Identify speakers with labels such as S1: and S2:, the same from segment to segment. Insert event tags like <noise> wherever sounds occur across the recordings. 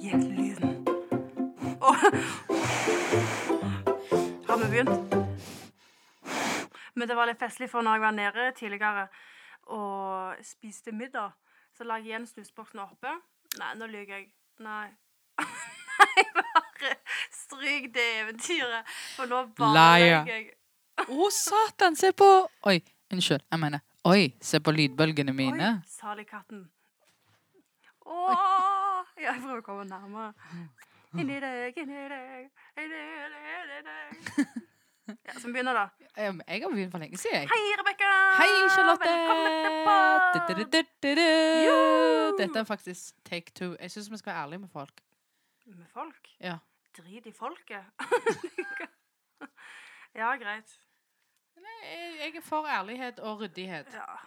S1: Gjett lyden. Åh. Har vi begynt? Men det var litt festlig, for når jeg var nede tidligere og spiste middag, så la jeg igjen snusboksen oppe. Nei, nå lyver jeg. Nei. <laughs> Nei, bare stryk det eventyret, for nå bare
S2: Liar.
S1: løy jeg.
S2: Å, satan, se på Oi, unnskyld. Jeg mener Oi, se på lydbølgene mine.
S1: Oi, saligkatten. Åh, ja, jeg prøver å komme nærmere.
S2: Mm.
S1: Inni deg, inni deg, inni deg, inni deg. Ja, så vi begynner da.
S2: Um, Jeg har begynt for lenge siden. jeg.
S1: Hei, Rebecca!
S2: Hei, Charlotte!
S1: Velkommen til podd!
S2: Du-du-du-du-du.
S1: Jo!
S2: Dette er faktisk take two. Jeg syns vi skal være ærlige med folk.
S1: Med folk?
S2: Ja.
S1: Drit i folket. <laughs> ja, greit.
S2: Jeg jeg er for ærlighet og ryddighet.
S1: Ja.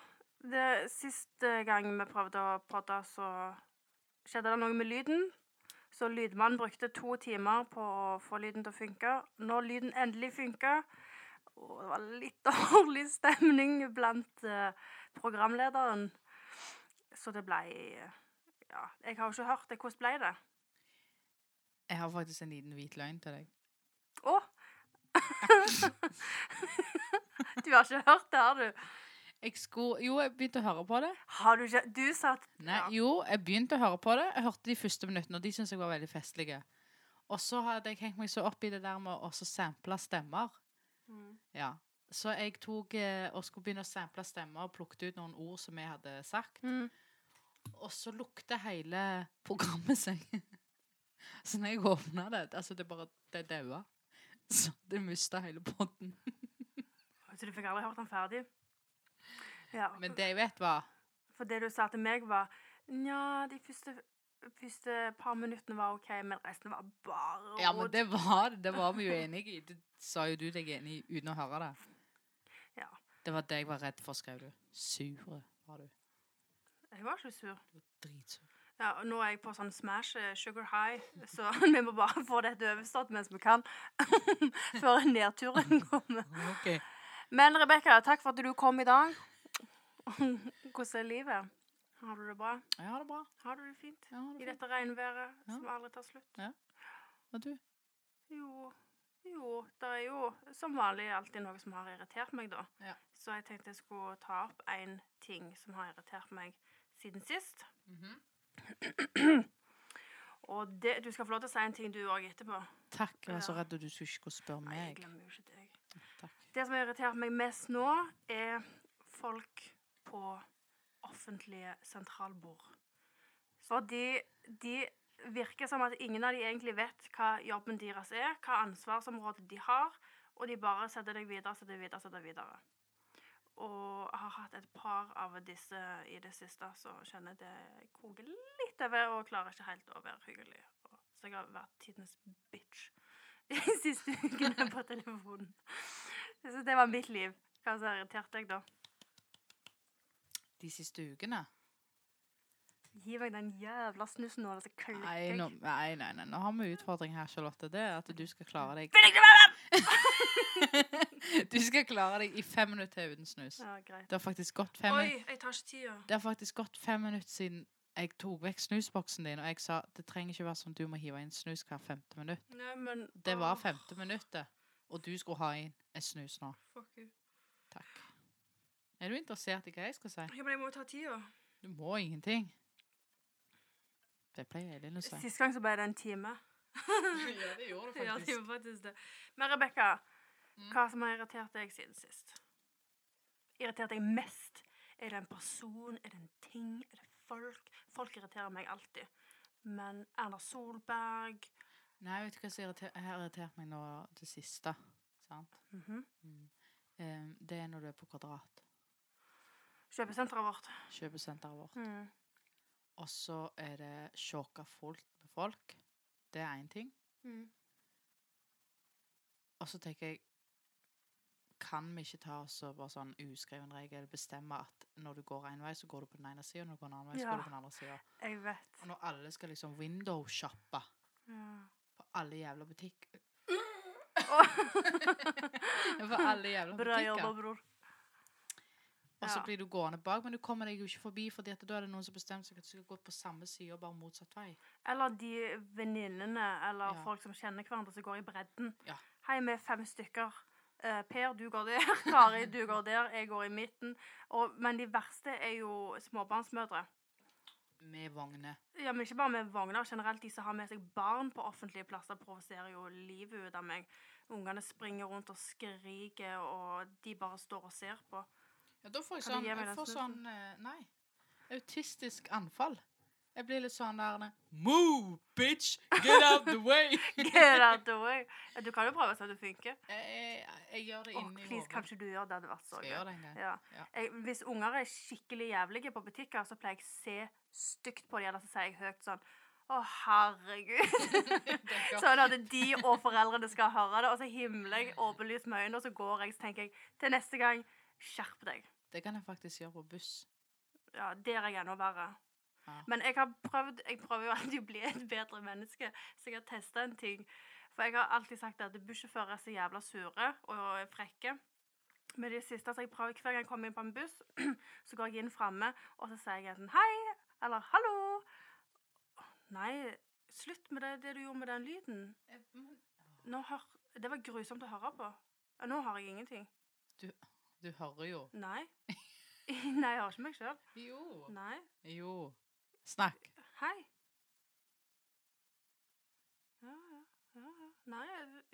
S1: Det siste gang vi prøvde å podde, så skjedde det noe med lyden. Så lydmannen brukte to timer på å få lyden til å funke. Når lyden endelig funka, og det var litt <laughs> dårlig stemning blant eh, programlederen, så det ble Ja, jeg har jo ikke hørt det. Hvordan ble det?
S2: Jeg har faktisk en liten hvit løgn til deg.
S1: Å! <laughs> du har ikke hørt det, har du?
S2: Jeg skulle, jo, jeg begynte å høre på det.
S1: Har du ikke Du sa at
S2: Nei,
S1: Ja.
S2: Jo, jeg begynte å høre på det. Jeg hørte de første minuttene, og de syntes jeg var veldig festlige. Og så hadde jeg hengt meg så opp i det der med å også sample stemmer.
S1: Mm.
S2: Ja. Så jeg tok eh, og skulle begynne å sample stemmer og plukket ut noen ord som jeg hadde sagt.
S1: mm.
S2: Og så lukter hele programmet seg. <laughs> Så når jeg åpna det Altså, det bare Det daua. Så det mista hele potten.
S1: Så du fikk aldri hørt den ferdig? Ja.
S2: Men det jeg vet, var
S1: For det du sa til meg var Nja, de første, første par minuttene var OK, men resten var bare
S2: Ja, men
S1: rot.»
S2: det var det. Det var vi jo enige i. Det sa jo du deg enig i uten å høre det.
S1: Ja.
S2: Det var det jeg var redd for, skrev du. Sure var du.
S1: Jeg var ikke sur.
S2: Dritsur.
S1: Ja, og nå er jeg på sånn smash eh, sugar high, så <laughs> vi må bare få dette overstått mens vi kan. <laughs> Før nedturen <laughs> kommer.
S2: Ok.
S1: Men Rebekka, takk for at du kom i dag. Hvordan er livet? Har du det bra?
S2: Jeg har det bra.
S1: Har du det fint?
S2: Jeg har
S1: I
S2: det bra.
S1: dette regnværet
S2: Ja.
S1: som aldri tar slutt?
S2: Og du?
S1: Jo, jo, det er jo som vanlig alltid noe som har irritert meg, da.
S2: Ja.
S1: Så jeg tenkte jeg skulle ta opp én ting som har irritert meg siden sist.
S2: Mhm.
S1: Og det, du skal få lov til å si en ting du òg etterpå.
S2: Takk. Jeg var så
S1: Ja.
S2: redd du skulle ikke spørre
S1: Nei, jeg
S2: meg.
S1: glemmer jo ikke deg.
S2: Takk.
S1: Det som har irritert meg mest nå, er folk på offentlige sentralbord. Fordi de virker som at ingen av de egentlig vet hva jobben deres er, hva ansvarsområdet de har, og de bare setter deg videre, setter deg videre, setter deg videre. Og jeg har hatt et par av disse i det siste, så kjenner jeg det koker litt over og klarer ikke helt å være hyggelig. Så jeg har vært tidenes bitch de <laughs> siste ukene på telefonen. Så det var mitt liv. Hva som irriterte deg, da?
S2: De siste ukene?
S1: Gi meg den jævla snusen nå, eller så klikker
S2: Nei
S1: jeg.
S2: nå, nei, nei, nei, nå har vi utfordring her, Charlotte. Det er at du skal klare deg
S1: Vil jeg ikke være med!
S2: <laughs> Du skal klare deg i fem minutter uten snus.
S1: Ja, greit.
S2: Det har faktisk gått fem
S1: Oi,
S2: minutter.
S1: jeg tar ikke tida.
S2: Det har faktisk gått fem minutter siden jeg tok vekk snusboksen din, og jeg sa det trenger ikke være sånn du må hive inn snus hver femte minutt.
S1: Nei, men
S2: Det var
S1: åh,
S2: femte minuttet, og du skulle ha inn en snus nå.
S1: fuck you.
S2: Takk. Er du interessert i hva jeg skal si?
S1: Ja, men jeg må jo ta tida.
S2: Du må ingenting. Det pleier Elin å si.
S1: Sist gang så ble det en <laughs> time.
S2: <laughs> Ja, det gjorde
S1: Ja, det var faktisk det. Men Rebekka,
S2: Mm.
S1: hva som har irritert deg siden sist? Irritert deg mest? Er det en person? Er det en ting? Er det folk? Folk irriterer meg alltid. Men Erna Solberg
S2: Nei, vet du hva som irriter- har irritert meg nå det siste? Sant?
S1: mhm.
S2: Em, Det er når du er på Kvadrat,
S1: Kjøpesenteret vårt.
S2: kjøpesenteret vårt.
S1: Mm.
S2: Og så er det sjokka fullt med folk. Det er én ting.
S1: Mm.
S2: Og så tenker jeg Kan vi ikke ta oss og bare sånn uskreven regel bestemme at når du går en vei, så går du på den ene sida, når du går en annen vei, så
S1: Ja.
S2: går du på den andre sida.
S1: Jeg vet.
S2: Og når alle skal liksom window-shoppe <laughs>
S1: Ja.
S2: på alle jævla butikk
S1: <laughs>
S2: På alle jævla
S1: Bra jobba,
S2: butikker.
S1: bror.
S2: Og så
S1: Ja.
S2: blir du gående bak, men du kommer deg jo ikke forbi, fordi at da er det noen som bestemmer seg at du skal gå på samme side og bare motsatt vei.
S1: Eller de venninnene eller
S2: Ja.
S1: folk som kjenner hverandre, som går i bredden.
S2: Ja.
S1: Hei, vi er fem stykker. Eh, per, du går der. <laughs> Kari, du går der. Jeg går i midten. Og, men de verste er jo småbarnsmødre.
S2: Med vogner.
S1: Ja, men ikke bare med vogner. Generelt, de som har med seg barn på offentlige plasser, provoserer jo livet ut av meg. Ungene springer rundt og skriker, og de bare står og ser på. <laughs>
S2: Ja, da får jeg
S1: Kan
S2: sånn,
S1: du gi meg
S2: jeg
S1: den
S2: får sånn eh, Nei. Autistisk anfall. Jeg blir litt sånn der Move, bitch! Get out the way!
S1: Get out the way. Ja, Du kan jo prøve å se at det funker.
S2: <laughs> jeg, jeg, jeg gjør det
S1: Åh,
S2: inni
S1: please,
S2: hodet.
S1: kanskje du gjør det. Det hadde vært så
S2: Skal
S1: gøy.
S2: jeg gjøre det en gang?
S1: Ja.
S2: Ja.
S1: Jeg, hvis unger er skikkelig jævlige på butikker, så pleier jeg å se stygt på dem, eller så sier jeg høyt sånn Å, herregud.
S2: Dere-
S1: <laughs> sånn at de og foreldrene skal høre det. Og så himler jeg åpenlyst med øynene, og så går jeg, så tenker jeg til neste gang, skjerp deg.
S2: Det kan jeg faktisk gjøre på buss.
S1: Ja, der er jeg enda verre.
S2: Ja.
S1: Men jeg har prøvd, jeg prøver jo alltid å bli et bedre menneske, så jeg har testa en ting. For jeg har alltid sagt at bussjåfører er så jævla sure og frekke. Men det siste så jeg prøver hver gang jeg kommer inn på en buss, <clears throat> så går jeg inn framme, og så sier jeg enten 'hei' eller 'hallo'. Nei, slutt med det, det du gjorde med den lyden. Nå hør, det var grusomt å høre på. Ja, Nå har jeg ingenting.
S2: Du hører jo.
S1: Nei. <laughs> Nei, jeg hører ikke meg sjøl.
S2: Jo.
S1: Nei.
S2: Jo. Snakk.
S1: Hei. Ja, ja, ja, ja. Nei,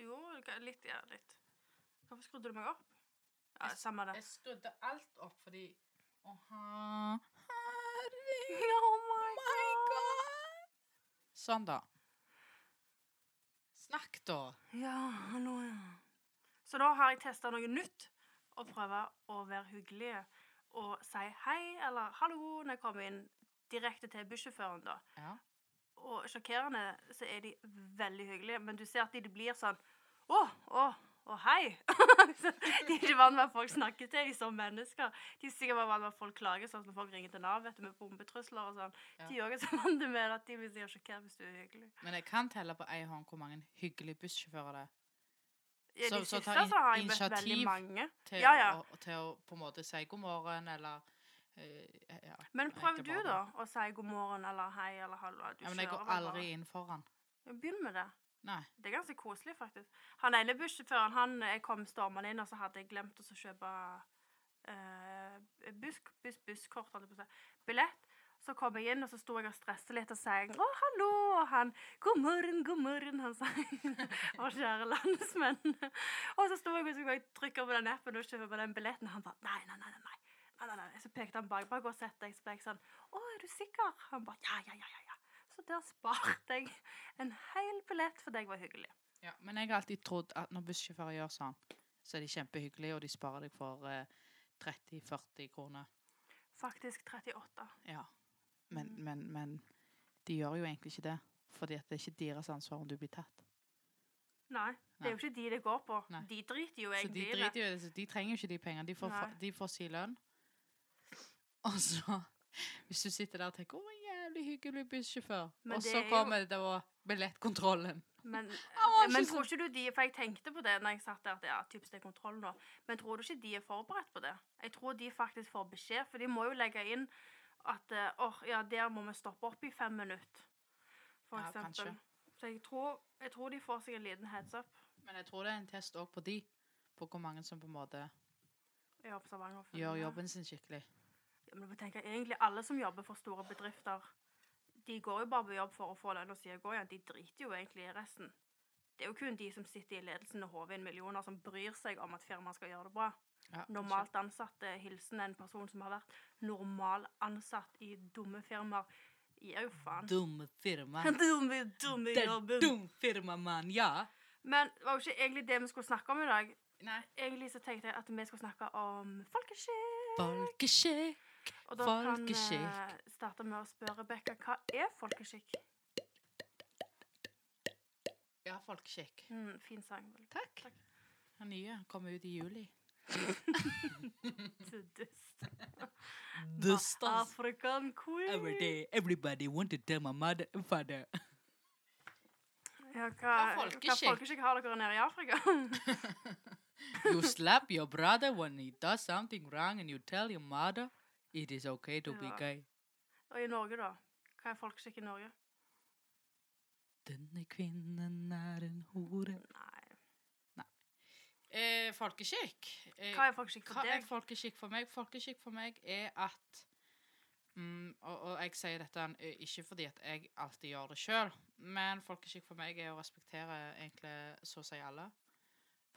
S1: jo, g- litt, ja, litt. Hvorfor skrudde du meg opp? Ja,
S2: Jeg s-
S1: samme det. <laughs>
S2: skrudde alt opp fordi Å, ha- herregud.
S1: Oh my
S2: My
S1: god!
S2: God. Sånn, da. Snakk, da.
S1: Ja, hallo, ja. Så da har jeg testa noe nytt, og prøver å være hyggelig og si hei eller hallo når jeg kommer inn direkte til bussjåføren, da.
S2: Ja.
S1: Og sjokkerende så er de veldig hyggelige, men du ser at de de blir sånn Å, å, å, hei! <laughs> Så de er ikke vant med at folk snakker til dem som mennesker. De er sikkert bare vant med at folk klager, sånn som når folk ringer til Nav vet du, med bombetrusler og sånn. De er også så vant med at de blir sikkert sjokkert hvis du er hyggelig.
S2: Men jeg kan telle på ei hånd hvor mange hyggelige bussjåfører det er
S1: Ja, de
S2: Så- så
S1: siste
S2: ta
S1: så,
S2: in-
S1: har jeg møtt veldig
S2: initiativ.
S1: mange.
S2: til,
S1: Ja, ja.
S2: Å, til å på en måte si god morgen, eller eh, ja.
S1: Men
S2: Nei,
S1: prøv
S2: det
S1: du,
S2: var det.
S1: da, å si god morgen eller hei eller hallo. Du
S2: ja. Men jeg
S1: kjører
S2: går
S1: vel
S2: aldri inn foran.
S1: bare. Ja, Begynn med det.
S2: Nei.
S1: Det er ganske koselig, faktisk. Han ene bussjåføren han jeg kom stormende inn, og så hadde jeg glemt å så kjøpe eh, buss, buss, busskort, holdt jeg på å si, billett. Så kom jeg inn, og så sto jeg og stresset litt og sa 'Å, hallo!' Og han 'God morgen, god morgen', han sa. <laughs> Å, kjære landsmenn. Og så sto jeg og skulle trykke på den appen og kjøpe på den billetten, og han bare 'Nei, nei, nei'. nei, nei, nei, nei. Så pekte han bak meg og sette jeg, så ble jeg sånn 'Å, er du sikker?' Han bare 'Ja, ja, ja'. ja, ja. Så der sparte jeg en hel billett, for deg var hyggelig.
S2: Ja, men jeg har alltid trodd at når bussjåfører gjør sånn, så er de kjempehyggelige, og de sparer deg for eh, 30-40 kroner.
S1: Faktisk 38.
S2: Ja. Men,
S1: Mm.
S2: men, men de gjør jo egentlig ikke det. Fordi at det er ikke deres ansvar om du blir tatt.
S1: Nei, det er jo ikke de det går på.
S2: Nei.
S1: De driter jo
S2: Så de
S1: egentlig i det.
S2: driter jo i det. Så de trenger jo ikke de pengene. De får,
S1: Nei.
S2: de får si lønn. Og så Hvis du sitter der og tenker 'Å, en jævlig hyggelig bussjåfør',
S1: Men
S2: og
S1: det
S2: så
S1: er jo-
S2: kommer det da billettkontrollen.
S1: Men, eh,
S2: var ikke
S1: men
S2: så-
S1: tror ikke du de For jeg tenkte på det når jeg satt der at ja, typisk det er kontroll nå. Men tror du ikke de er forberedt på det? Jeg tror de faktisk får beskjed, for de må jo legge inn at eh, åh, ja, der må vi stoppe opp i fem minutter. For
S2: Ja,
S1: eksempel.
S2: kanskje.
S1: Så jeg tror, jeg tror de får seg en liten heads up.
S2: Men jeg tror det er en test òg på de. På hvor mange som på en måte
S1: Jeg håper Stavanger får
S2: gjør
S1: det.
S2: jobben sin skikkelig.
S1: Ja, men du må tenke, egentlig alle som jobber for store bedrifter, de går jo bare på jobb for å få lønn og sier gå igjen. De driter jo egentlig i resten. Det er jo kun de som sitter i ledelsen og håver inn millioner, som bryr seg om at firmaet skal gjøre det bra.
S2: Ja,
S1: Normalt ansatte, hilsen en person som har vært normal ansatt i dumme firmaer, gir jo faen.
S2: Dumme firma.
S1: <laughs> Dumme, dumme jobben.
S2: dum firma, mann. Ja.
S1: Men det var jo ikke egentlig det vi skulle snakke om i dag.
S2: Nei.
S1: Egentlig så tenkte jeg at vi skulle snakke om folkeskikk.
S2: Folkeskikk.
S1: Og da kan vi
S2: Folkeskikk.
S1: starte med å spørre Rebekka hva er folkeskikk?
S2: Ja, folkeskikk.
S1: Mm, fin sang. vel.
S2: Takk. Den nye kommer ut i juli.
S1: Så dust. African
S2: er
S1: queen.
S2: day, everybody want to tell my mother and father.
S1: Ja, hva,
S2: Hva er folkeskikk?
S1: Hva folkeskikk har dere nede i Afrika?
S2: <laughs> You slap your brother when he does something wrong, and you tell your mother it is okay to be
S1: Ja.
S2: gay.
S1: <laughs> Og i Norge, da? Hva er folkeskikk i Norge?
S2: Denne kvinnen er en hore.
S1: Nei.
S2: Eh, folkeskikk. Eh,
S1: Hva er folkeskikk
S2: Hva
S1: for
S2: er
S1: deg?
S2: folkeskikk for meg? Folkeskikk for meg er at mm, og, og jeg sier dette eh, ikke fordi at jeg alltid gjør det sjøl, men folkeskikk for meg er å respektere egentlig så å si alle.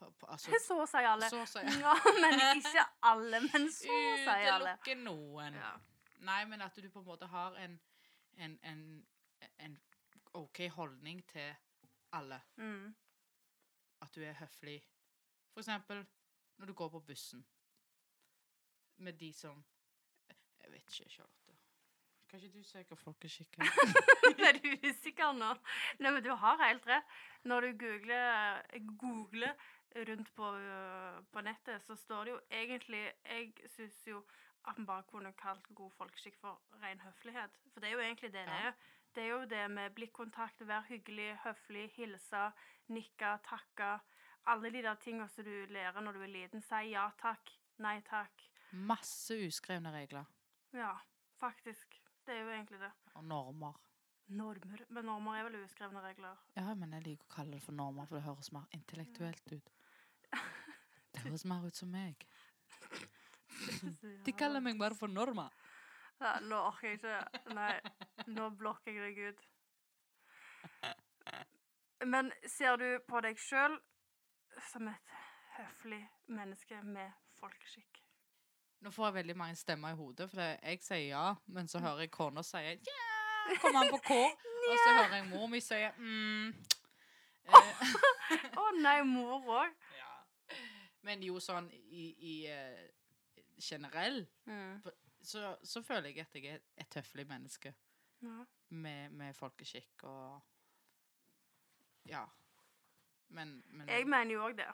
S2: På, på, altså,
S1: <laughs> Så sier alle.
S2: så å si
S1: Ja, men ikke alle, men <laughs> så sier alle.
S2: Utelukke noen.
S1: Ja.
S2: Nei, men at du på en måte har en, en, en, en OK holdning til alle.
S1: Mm.
S2: at du er høflig. For eksempel når du går på bussen med de som Jeg vet ikke, Charlotte. Kan ikke du søke folkeskikk? her?
S1: Er du usikker nå? Nei, men du har helt rett. Når du googler, googler rundt på, øh, på nettet, så står det jo egentlig Jeg syns jo at man bare kunne kalt god folkeskikk for ren høflighet. For det er jo egentlig det det
S2: Ja.
S1: er. Det er jo det med blikkontakt, være hyggelig, høflig, hilse, nikke, takke. Alle de der tinga som du lærer når du er liten. Si ja takk, nei takk.
S2: <laughs> Masse uskrevne regler
S1: Ja, faktisk. Det er jo egentlig det.
S2: og normer.
S1: Normer. Men normer er vel uskrevne regler.
S2: Ja, men jeg liker å kalle det for normer, for det høres mer intellektuelt <laughs> ut. Det høres mer ut som meg. De kaller meg bare for norma.
S1: Ja, Nå orker jeg ikke. Nei, nå blokker jeg deg ut. Men ser du på deg sjøl som et høflig menneske med folkeskikk?
S2: Nå får jeg veldig mange stemmer i hodet, for det- jeg sier ja, men så hører jeg kona si ja, kommer an på hvor, og så hører jeg mor mi si mm. Eh,
S1: Å nei, mor òg.
S2: Ja. Men jo, sånn i, i eh, generell, Mm. så, så føler jeg at jeg er et høflig menneske
S1: Ja.
S2: med, med folkeskikk og Ja. Men, men
S1: Jeg mener jo òg det.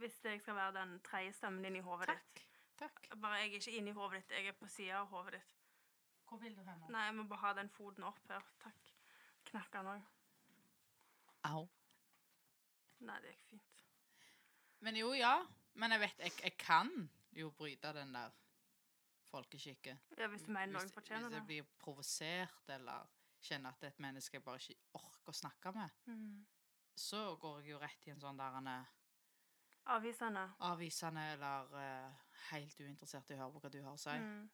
S1: Hvis jeg skal være den tredje stemmen din i hodet ditt.
S2: Takk. Takk.
S1: Bare jeg er ikke inni hodet ditt, jeg er på sida av hodet ditt.
S2: Hvor vil du hen? nå?
S1: Nei, jeg må bare ha den foten opp her. Takk. Knakk den òg.
S2: Au.
S1: Nei, det gikk fint.
S2: Men jo, ja. Men jeg vet, jeg, jeg kan jo bryte den der folkeskikken.
S1: Ja, hvis du mener noen
S2: Hvis-
S1: fortjener
S2: Hvis
S1: det.
S2: jeg blir provosert eller kjenner at det er et menneske jeg bare ikke orker å snakke med,
S1: Mm.
S2: så går jeg jo rett i en sånn der en, eh,
S1: Avvisende.
S2: avvisende eller eh, helt uinteressert i å høre på hva du har å si.
S1: Mm.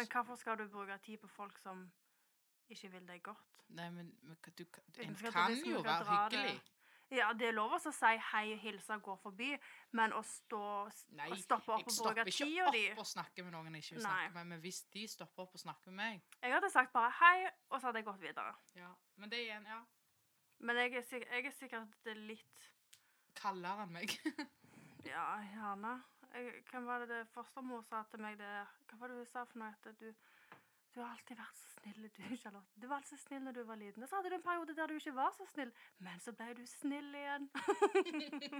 S1: Men hvorfor skal du bruke tid på folk som ikke vil deg godt?
S2: Nei, men, men hva- du, ka- du- en
S1: Utenfor at
S2: kan
S1: det liksom
S2: jo
S1: skal
S2: være
S1: dra det-
S2: hyggelig.
S1: Ja, det er lov å si hei og hilse og gå forbi, men å stå
S2: Nei,
S1: og stoppe opp
S2: jeg
S1: og
S2: stopper
S1: bruke
S2: ikke
S1: tida di
S2: opp og snakker med noen jeg ikke vil
S1: Nei.
S2: snakke med. Men hvis de stopper opp og snakker med meg
S1: Jeg hadde sagt bare hei, og så hadde jeg gått videre.
S2: ja. Men det er igjen, ja.
S1: Men jeg er, sik jeg er sikkert litt
S2: Kaldere enn meg. <laughs>
S1: Ja, gjerne. Jeg, hvem var det det fostermor sa til meg det Hva var det hun sa for noe? At du, du har alltid vært så snill, du, Charlotte. Du var alltid så snill når du var liten. Og så hadde du en periode der du ikke var så snill, men så ble du snill igjen.
S2: <laughs>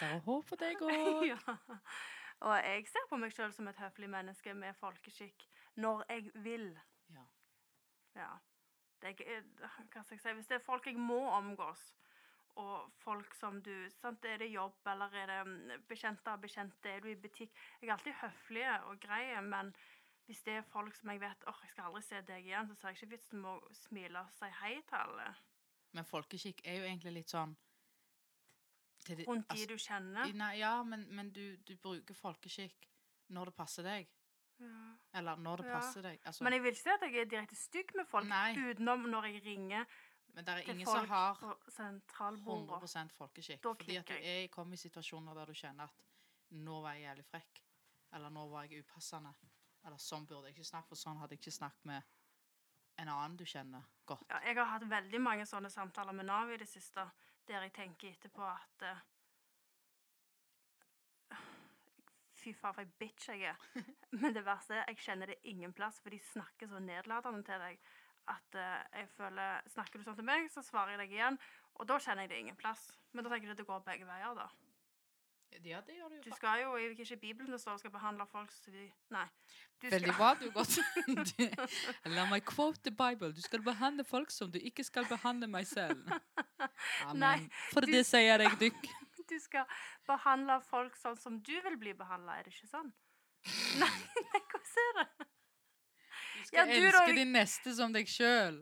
S2: Det er håp for
S1: <laughs>
S2: deg òg.
S1: ja. Og jeg ser på meg sjøl som et høflig menneske med folkeskikk når jeg vil.
S2: Ja.
S1: Ja. Det er, ikke- eh, hva skal jeg si? Hvis det er folk jeg må omgås, og folk som du sant? Er det jobb, eller er det mm, bekjente av bekjente? Er du i butikk? Jeg er alltid høflig og grei, men hvis det er folk som jeg vet åh, jeg skal aldri se deg igjen, så ser jeg ikke vits med å smile og si hei til alle
S2: Men folkeskikk er jo egentlig litt sånn til det-
S1: rundt de
S2: altså,
S1: du kjenner.
S2: i- Nei, ja, men, men du, du bruker folkeskikk når det passer deg.
S1: Ja.
S2: Eller når det
S1: Ja.
S2: passer deg. Altså,
S1: Men
S2: men
S1: jeg vil ikke si at jeg er direkte stygg med folk,
S2: Nei.
S1: utenom når jeg ringer
S2: det er
S1: til
S2: ingen
S1: folk
S2: som har
S1: på sentralbordet.
S2: 100 folkeskikk.
S1: Da
S2: Fordi at du
S1: klikker
S2: er, kommer i situasjoner der du kjenner at nå var jeg jævlig frekk, eller nå var jeg upassende, eller sånn burde jeg ikke snakke, for sånn hadde jeg ikke snakket med en annen du kjenner godt.
S1: Ja, jeg har hatt veldig mange sånne samtaler med Nav i det siste, der jeg tenker etterpå at eh, Fy faen, for ei bitch jeg er. Men det verste er, jeg kjenner det ingen plass, for de snakker så nedlatende til deg at eh, jeg føler Snakker du sånn til meg, så svarer jeg deg igjen. Og da kjenner jeg det ingen plass. Men da tenker du at det går begge veier, da.
S2: Ja, det gjør du jo.
S1: Du
S2: fa-
S1: skal jo jeg vet ikke i Bibelen det står du skal behandle folk som de Nei. Du
S2: Veldig
S1: skal,
S2: bra, du godt. Du- <laughs> La meg quote the Bible. Du skal behandle
S1: <laughs>
S2: folk som du ikke skal behandle meg selv. Amen.
S1: Nei,
S2: For
S1: du- <laughs>
S2: det sier jeg dykk.
S1: du skal behandle folk sånn som du vil bli behandla, er det ikke <laughs> sånn? Nei, nei, hvordan er det?
S2: Du
S1: Ja,
S2: skal
S1: du,
S2: elske
S1: Roy.
S2: din neste som deg sjøl.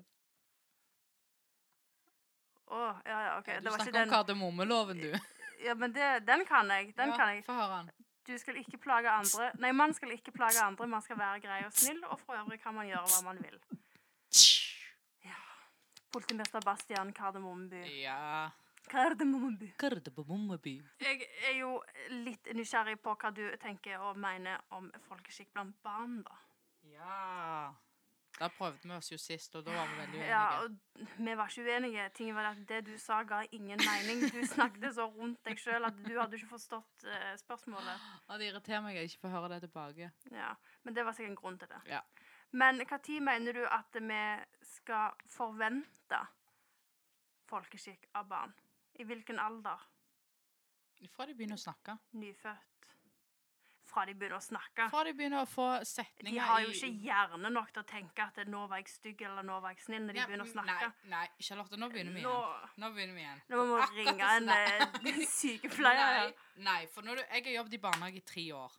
S1: Å, ja, ja, OK.
S2: du
S1: Det var
S2: snakker
S1: ikke
S2: om
S1: den.
S2: kardemommeloven, du.
S1: Ja, men det, den kan jeg. Den
S2: ja,
S1: kan jeg.
S2: Få høre den.
S1: Du skal ikke plage andre. Nei, man skal ikke plage andre. Man skal være grei og snill, og for øvrig kan man gjøre hva man vil. Politimester Bastian Kardemommeby.
S2: Ja
S1: Kardemommeby.
S2: Kardemommeby.
S1: Jeg er jo litt nysgjerrig på hva du tenker og mener om folkeskikk blant barn, da.
S2: Ja. Da prøvde vi oss jo sist, og da var vi veldig
S1: Ja,
S2: uenige.
S1: og vi var ikke uenige. Tingen var at det du sa, ga ingen mening. Du snakket så rundt deg sjøl at du hadde ikke forstått eh, spørsmålet.
S2: Og det irriterer meg jeg ikke får høre det tilbake.
S1: Ja, Men det var sikkert en grunn til det.
S2: Ja.
S1: Men når mener du at vi skal forvente folkeskikk av barn? I hvilken alder?
S2: Fra de begynner å snakke.
S1: Nyfødt? Fra de begynner å snakke?
S2: Fra de begynner å få
S1: De
S2: setninger
S1: har jo
S2: i-
S1: ikke hjerne nok til å tenke at 'nå var jeg stygg' eller 'nå var jeg snill', når de
S2: Ja,
S1: begynner å snakke.
S2: men- Nei, nei, Charlotte, nå begynner vi igjen.
S1: Nå,
S2: Nå begynner vi igjen.
S1: nå må
S2: Akkurat
S1: vi ringe en
S2: det <laughs> snak-
S1: eh, sykepleier. her.
S2: Nei, nei, for når du, jeg har jobbet i barnehage i tre år.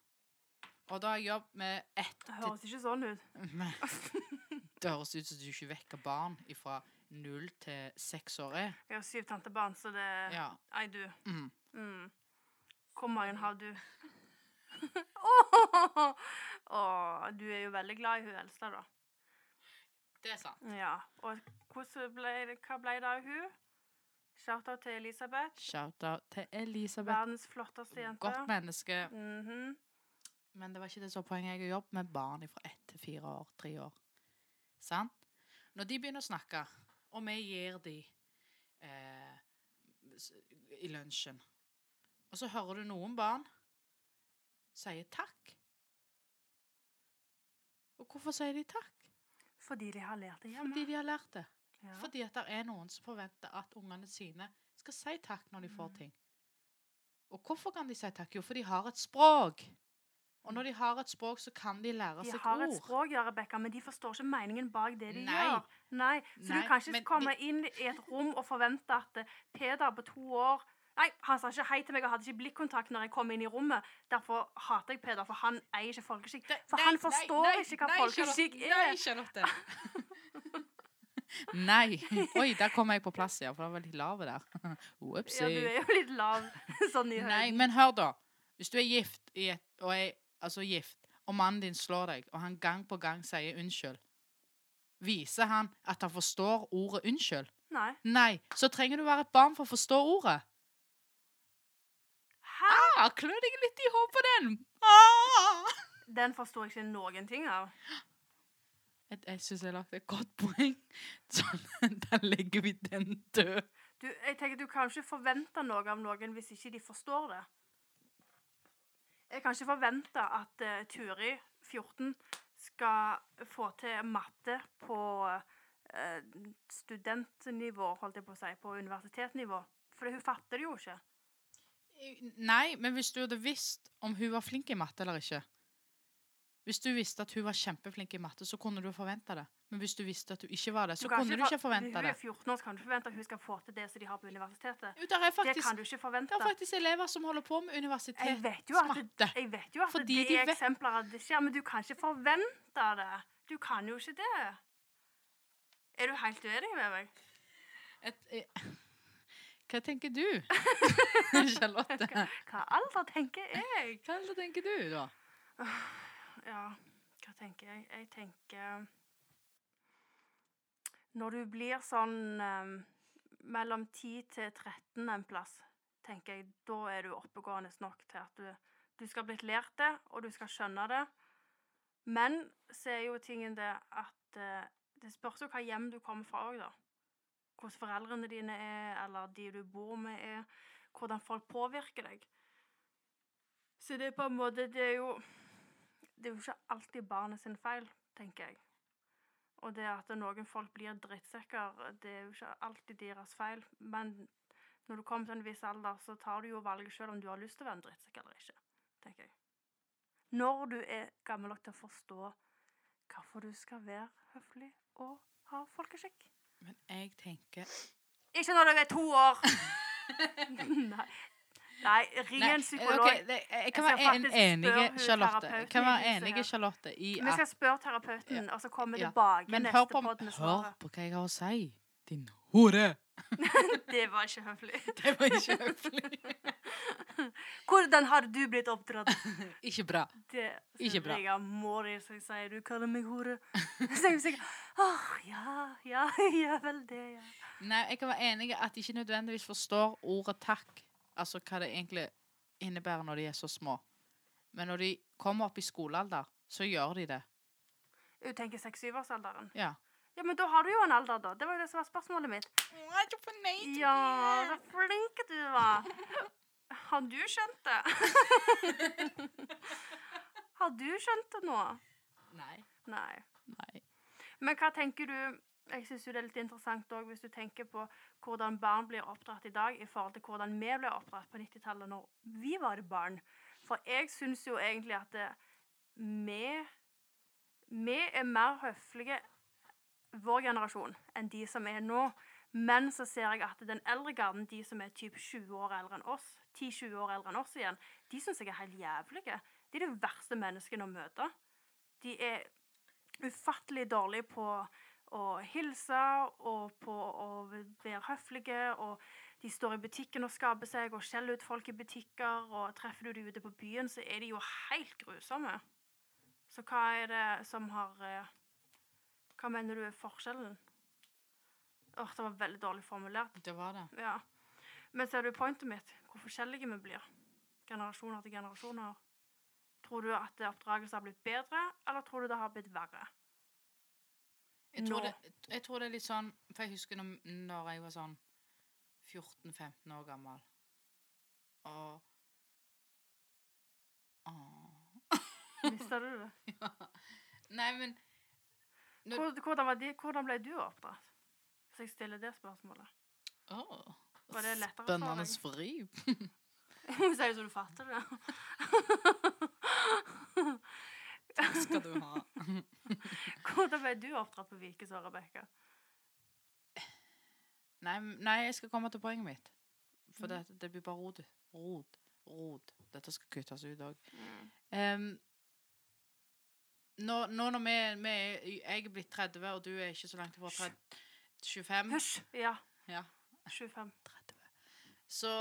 S2: Og da har jeg jobbet med ett
S1: Det
S2: til
S1: høres ikke sånn ut.
S2: <laughs> Det høres ut som du ikke vekker barn fra null til seks år er.
S1: Jeg har syv tantebarn, så det
S2: Ja.
S1: Nei, du.
S2: Mm.
S1: Mm. Hvor mange har du? <laughs> Å, du er jo veldig glad i hun eldste, da.
S2: Det er sant.
S1: Ja. Og hvordan ble, det- hva ble det av hun? Shout-out til Elisabeth.
S2: Shout-out til Elisabeth.
S1: Verdens flotteste jente.
S2: Godt menneske.
S1: Mhm.
S2: Men det var ikke det som var poenget. Jeg har jobbet med barn fra ett til fire år, tre år. Sant? Når de begynner å snakke, og vi gir de eh, s- i lunsjen, og så hører du noen barn sier takk. Og hvorfor sier de takk?
S1: Fordi de har lært det hjemme.
S2: Fordi de har lært det.
S1: Ja.
S2: Fordi at det er noen som forventer at ungene sine skal si takk når de
S1: Mm.
S2: får ting. Og hvorfor kan de si takk? Jo, for de har et språk. Og når de har et språk, så kan de lære
S1: De
S2: seg
S1: har et
S2: Altså, ord.
S1: språk, ja, Rebekka, men de forstår ikke meningen bak det de
S2: Nei.
S1: gjør. Nei, Så
S2: Nei,
S1: du kan ikke
S2: men
S1: komme inn i et rom og forvente at eh, Peder på to år Nei, han sa ikke hei til meg og hadde ikke blikkontakt når jeg kom inn i rommet. Derfor hater jeg Peder, for han eier ikke folkeskikk.
S2: Nei,
S1: For
S2: nei,
S1: han
S2: nei,
S1: forstår
S2: nei,
S1: ikke hva
S2: nei,
S1: folkeskikk
S2: Charlotte,
S1: er.
S2: Nei,
S1: <laughs>
S2: Charlotte. nei. Oi, der kom jeg på plass, ja. For det var litt lave der. <laughs>
S1: Ja, du
S2: Whoopsie.
S1: er jo litt lav <laughs> sånn i
S2: Nei,
S1: høyden.
S2: men hør, da. Hvis du er gift, i et, og er, altså gift, og mannen din slår deg, og han gang på gang sier unnskyld, viser han at han forstår ordet unnskyld?
S1: Nei.
S2: Nei, så trenger du være et barn for å forstå ordet.
S1: Hæ?
S2: Ah, klør deg litt i hodet på den. Ah!
S1: Den forstår jeg ikke noen ting av.
S2: Jeg, jeg syns jeg lagde et godt poeng. <laughs> Sånn, der legger vi den død.
S1: Du, jeg tenker Du kan ikke forvente noe av noen hvis ikke de forstår det. Jeg kan ikke forvente at eh, Turi, 14, skal få til matte på eh, studentnivå, holdt jeg på å si, på universitetnivå. For hun fatter det jo ikke.
S2: Nei, men hvis du hadde visst om hun var flink i matte eller ikke Hvis du visste at hun var kjempeflink i matte, så kunne du forvente det. Men hvis du visste at hun ikke var det, så
S1: kan
S2: kunne du ikke
S1: for-
S2: forvente
S1: Hun
S2: det.
S1: er 14 år, så kan du ikke forvente at hun skal få til det som de har på universitetet.
S2: Jo, der
S1: det
S2: er
S1: kan
S2: faktisk,
S1: du ikke
S2: der er
S1: forvente.
S2: faktisk elever som holder på med
S1: Jeg
S2: universitet.
S1: vet jo at,
S2: matte.
S1: det, jeg vet jo at
S2: Fordi
S1: det
S2: de
S1: er
S2: vet-
S1: eksempler at det skjer, men du kan ikke forvente det. Du kan jo ikke det. Er du helt uenig med meg?
S2: Et, eh, hva tenker du,
S1: <laughs>
S2: Charlotte?
S1: Hva alder tenker jeg?
S2: Hva er det tenker du, da?
S1: Ja, hva tenker jeg? Jeg tenker Når du blir sånn eh, mellom 10 til 13 en plass, tenker jeg, da er du oppegående nok til at du, du skal ha blitt lært det, og du skal skjønne det. Men så er jo tingen det at eh, det spørs jo hva hjem du kommer fra òg, da. Hvordan foreldrene dine er, eller de du bor med er. Hvordan folk påvirker deg. Så det er på en måte Det er jo det er jo ikke alltid barnet sin feil, tenker jeg. Og det at noen folk blir drittsekker, det er jo ikke alltid deres feil. Men når du kommer til en viss alder, så tar du jo valget sjøl om du har lyst til å være en drittsekk eller ikke, tenker jeg. Når du er gammel nok til å forstå hvorfor du skal være høflig og ha folkeskikk.
S2: Men jeg tenker <laughs>
S1: Ikke når du er to år! Nei. Nei, ring
S2: Nei,
S1: en psykolog.
S2: ok, det, jeg kan
S1: Jeg
S2: være
S1: skal
S2: en,
S1: faktisk
S2: enig
S1: spørre hun
S2: Charlotte. Jeg
S1: terapeuten i
S2: kan være
S1: huset her.
S2: enig Charlotte i
S1: Vi skal
S2: at
S1: spørre terapeuten, og så kommer vi
S2: Ja.
S1: tilbake
S2: Men hør
S1: neste
S2: på,
S1: podd med
S2: hør
S1: svaret.
S2: på hva jeg har å si, din hore!
S1: Det var ikke høflig.
S2: <laughs> Det var ikke høflig.
S1: Hvordan har du blitt oppdratt?
S2: Ikke bra.
S1: Det
S2: <laughs> Ikke bra.
S1: Jeg har Mori som sier du kaller meg hore. <laughs> Så er jeg sikkert Åh, ja, ja, <laughs> ja vel det, ja.
S2: Nei, jeg kan være enig i at de ikke nødvendigvis forstår ordet takk. Altså hva det egentlig innebærer når de er så små. Men når de kommer opp i skolealder, så gjør de det.
S1: Hun tenker 6-7-årsalderen.
S2: Ja.
S1: Ja, men da har du jo en alder, da. Det var jo det som var spørsmålet mitt. Ja, så flink du var. Har du skjønt
S2: <laughs>
S1: det? <laughs> Har du skjønt det nå?
S2: Nei.
S1: Nei.
S2: Nei.
S1: Men hva tenker du Jeg syns jo det er litt interessant òg, hvis du tenker på hvordan barn blir oppdratt i dag i forhold til hvordan vi ble oppdratt på 90-tallet når vi var barn. For jeg syns jo egentlig at det, vi Vi er mer høflige, vår generasjon, enn de som er nå. Men så ser jeg at den eldre garden, de som er typ 20 år eldre enn oss, 10-20 år eldre enn oss igjen, de syns jeg er helt jævlige. De er det verste menneskene å møte. De er ufattelig dårlig på å hilse og på å være høflige. Og de står i butikken og skaper seg og skjeller ut folk i butikker. Og treffer du dem ute på byen, så er de jo helt grusomme. Så hva er det som har eh, Hva mener du er forskjellen? Åh, det var veldig dårlig formulert.
S2: Det var det.
S1: Ja. Men ser du pointet mitt? Hvor forskjellige vi blir. Generasjoner til generasjoner. Tror du at oppdragelsen har blitt bedre, eller tror du det har blitt verre?
S2: Jeg tror,
S1: Nå.
S2: det, jeg tror det er litt sånn For jeg husker når, når jeg var sånn 14-15 år gammel. Og Åh.
S1: Mister du det?
S2: Nei, men Men-
S1: Hvor- Hvordan, var de, hvordan ble du oppdratt? Hvis jeg stiller det spørsmålet.
S2: Åh.
S1: Var det lettere for
S2: Spennende
S1: deg?
S2: vri.
S1: Hun sier jo så du fatter det.
S2: Takk skal du ha.
S1: <laughs> Hvordan ble du oppdratt på Vikeså, Rebekka?
S2: <laughs> Nei, m- nei, jeg skal komme til poenget mitt. For det, det blir bare rot. Rot. Rot. Dette skal kuttes ut òg. nå, nå når vi, vi er, Jeg er blitt 30, og du er ikke så langt ifra 30 25.
S1: Hysj! Ja.
S2: Ja.
S1: 25.
S2: Så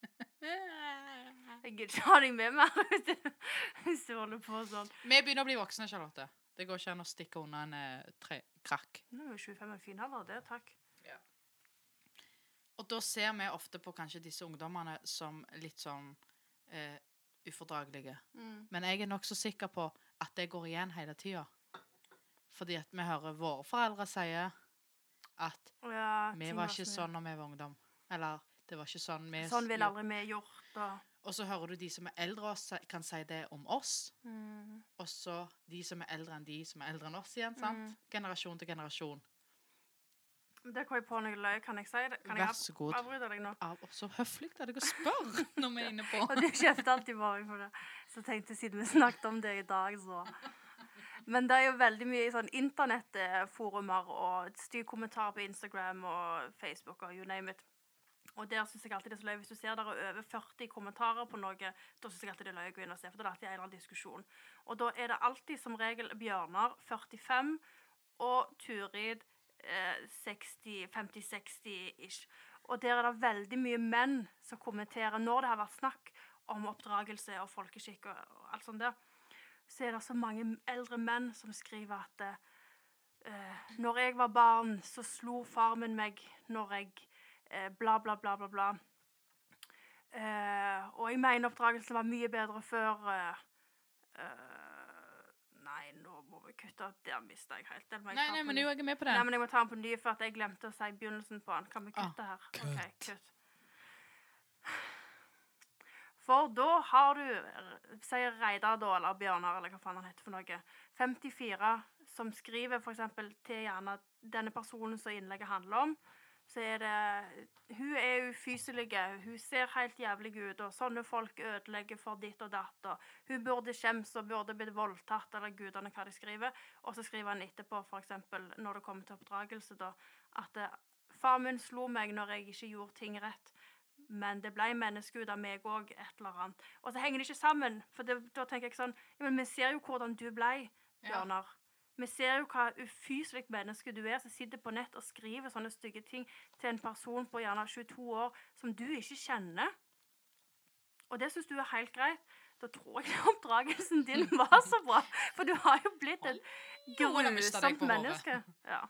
S2: <laughs>
S1: Jeg gidder ikke ha deg med mer <laughs> hvis du- hvis du holder på sånn.
S2: Vi begynner å bli voksne, Charlotte. Det går ikke an å stikke unna en eh, tre, krakk.
S1: Nå er jo 25 en fin alder, det. Takk.
S2: Og da ser vi ofte på kanskje disse ungdommene som litt sånn eh, ufordragelige. Men jeg er nokså sikker på at det går igjen hele tida. Fordi at vi hører våre foreldre sie at
S1: Ja,
S2: vi
S1: ting
S2: var ikke
S1: som-
S2: sånn når vi var ungdom. Eller det var ikke sånn vi
S1: Sånn ville aldri vi gjort. Og,
S2: Og så hører du de som er eldre oss, si- kan si det om oss. Og så de som er eldre enn de som er eldre enn oss igjen. sant?
S1: Mm.
S2: Generasjon til generasjon.
S1: Det kom jeg på når jeg løy. Kan jeg si det? Kan jeg
S2: Vær
S1: av-
S2: så god.
S1: avbryte deg nå?
S2: Av, og så høflig av deg å
S1: <laughs>
S2: spørre når vi er inne på
S1: Og du kjefter alltid på meg for det. Så tenkte jeg siden vi snakket om det i dag, så Men det er jo veldig mye i sånn internettforumer og styr kommentarer på Instagram og Facebook og you name it. Og der synes jeg alltid det er så løy. Hvis du ser der er over 40 kommentarer på noe, da synes jeg alltid det er løy å gå inn og se, for da er det alltid en eller annen diskusjon. Og da er det alltid som regel Bjørnar 45 og Turid eh, 60, 50-60-ish. Og der er det veldig mye menn som kommenterer når det har vært snakk om oppdragelse og folkeskikk og, og alt sånt der. Så er det så mange eldre menn som skriver at eh, eh, når jeg var barn, så slo far min meg når jeg eh, bla, bla, bla, bla, bla. Eh, og jeg mener oppdragelsen var mye bedre før. eh, eh, nei, nå må vi kutte. Der mista jeg helt. Den må jeg
S2: Nei,
S1: ta
S2: nei,
S1: på
S2: men
S1: ny.
S2: jo, jeg er med på
S1: Nei,
S2: den.
S1: men jeg må ta den på ny, for at jeg glemte å si begynnelsen på den. Kan
S2: Ah.
S1: vi kutte her? Ok, kutt. For da har du, sier Reidar da, eller Bjørnar, eller hva faen han heter for noe, 54 som skriver for eksempel til gjerne denne personen som innlegget handler om, så er det Hun er ufyselig, hun ser helt jævlig ut, og sånne folk ødelegger for ditt og datt, og hun burde skjemmes og burde blitt voldtatt, eller gudene hva de skriver. Og så skriver han etterpå, f.eks. når det kommer til oppdragelse, da, at eh, far min slo meg når jeg ikke gjorde ting rett. men det ble menneske ut av meg òg, et eller annet. Og så henger det ikke sammen. For det, da tenker jeg sånn ja, Men vi ser jo hvordan du ble,
S2: Ja.
S1: Bjørnar. Vi ser jo hva ufyselig menneske du er, som sitter på nett og skriver sånne stygge ting til en person på gjerne 22 år som du ikke kjenner. Og det syns du er helt greit. Da tror jeg <laughs> oppdragelsen din var så bra. For du har jo blitt et
S2: Noen har mistet deg
S1: grusomt
S2: på håret.
S1: menneske. Ja.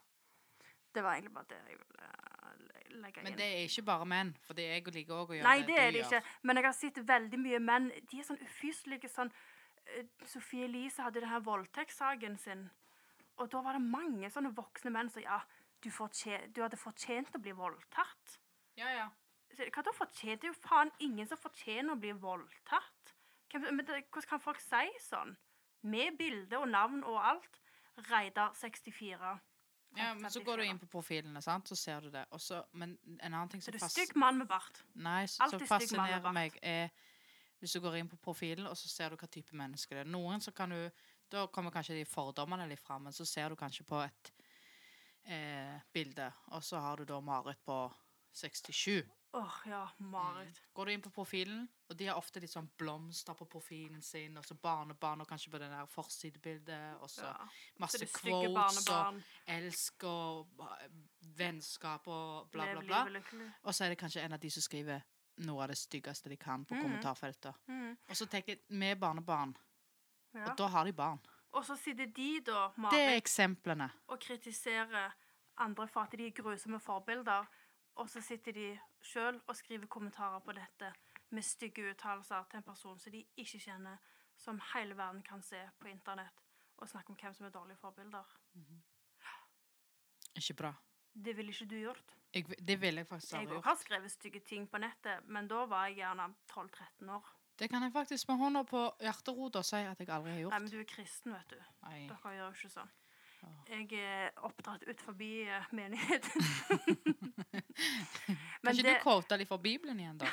S1: Det var egentlig bare det jeg ville eh, legge inn.
S2: Men det er ikke bare menn, for det altså. jeg liker òg å gjøre
S1: Nei, det
S2: du
S1: er det
S2: gjør.
S1: ikke. Men jeg har sett veldig mye menn. De er sånn ufyselige. Sånn, eh, Sophie Elise hadde denne voldtektssaken sin. Og da var det mange sånne voksne menn som ja, du, fortje- du hadde fortjent å bli voldtatt.
S2: Ja, ja.
S1: Så Hva da fortjent? Det er jo faen ingen som fortjener å bli voldtatt. Hvem, men det, hvordan kan folk si sånn? Med bilde og navn og alt. Reidar 64.
S2: ja, men så går du inn på profilene, sant, så ser du det. Og så- men en annen ting
S1: Så
S2: som
S1: det er
S2: fas-
S1: stygg mann med bart.
S2: Nei, s-
S1: Alt
S2: som
S1: er stygg mann og
S2: fascinerer
S1: bart.
S2: meg, er hvis du går inn på profilen, og så ser du hva type menneske det er. Noen så kan du Da kommer kanskje de fordommene litt fram, men så ser du kanskje på et eh, bilde, og så har du da Marit på 67.
S1: Åh, ja, Marit.
S2: Går du inn på profilen, og de har ofte litt sånn blomster på profilen sin, og så barnebarn, og kanskje på det der forsidebildet, og så
S1: Ja. Så
S2: masse
S1: det er stygge
S2: quotes og
S1: barnebarn.
S2: elsk og ba- vennskap og bla,
S1: Lev
S2: bla, bla.
S1: livet lykkelig.
S2: Og så er det kanskje en av de som skriver noe av det styggeste de kan på
S1: Mhm.
S2: kommentarfeltet.
S1: Mhm,
S2: Og så tenker jeg, vi er barnebarn,
S1: ja.
S2: og da har de barn.
S1: Og så sitter de da,
S2: Det er
S1: Marit,
S2: eksemplene.
S1: og kritiserer andre for at de er grusomme forbilder. Og så sitter de sjøl og skriver kommentarer på dette med stygge uttalelser til en person som de ikke kjenner, som hele verden kan se på internett, og snakke om hvem som er dårlige forbilder.
S2: Ikke bra.
S1: Det ville ikke du gjort.
S2: Jeg, v- det ville jeg faktisk
S1: Jeg
S2: aldri
S1: òg
S2: gjort.
S1: har skrevet stygge ting på nettet, men da var jeg gjerne 12-13 år.
S2: Det kan jeg faktisk med hånda på hjerterota si at jeg aldri har
S1: Nei, men
S2: gjort.
S1: du er kristen, vet du.
S2: Nei.
S1: Dere gjør jo ikke sånn.
S2: Ja.
S1: Jeg er oppdratt ut forbi eh,
S2: <laughs>
S1: menigheten.
S2: Kan
S1: Men
S2: ikke
S1: det
S2: du quote litt fra Bibelen
S1: <laughs>
S2: igjen, da?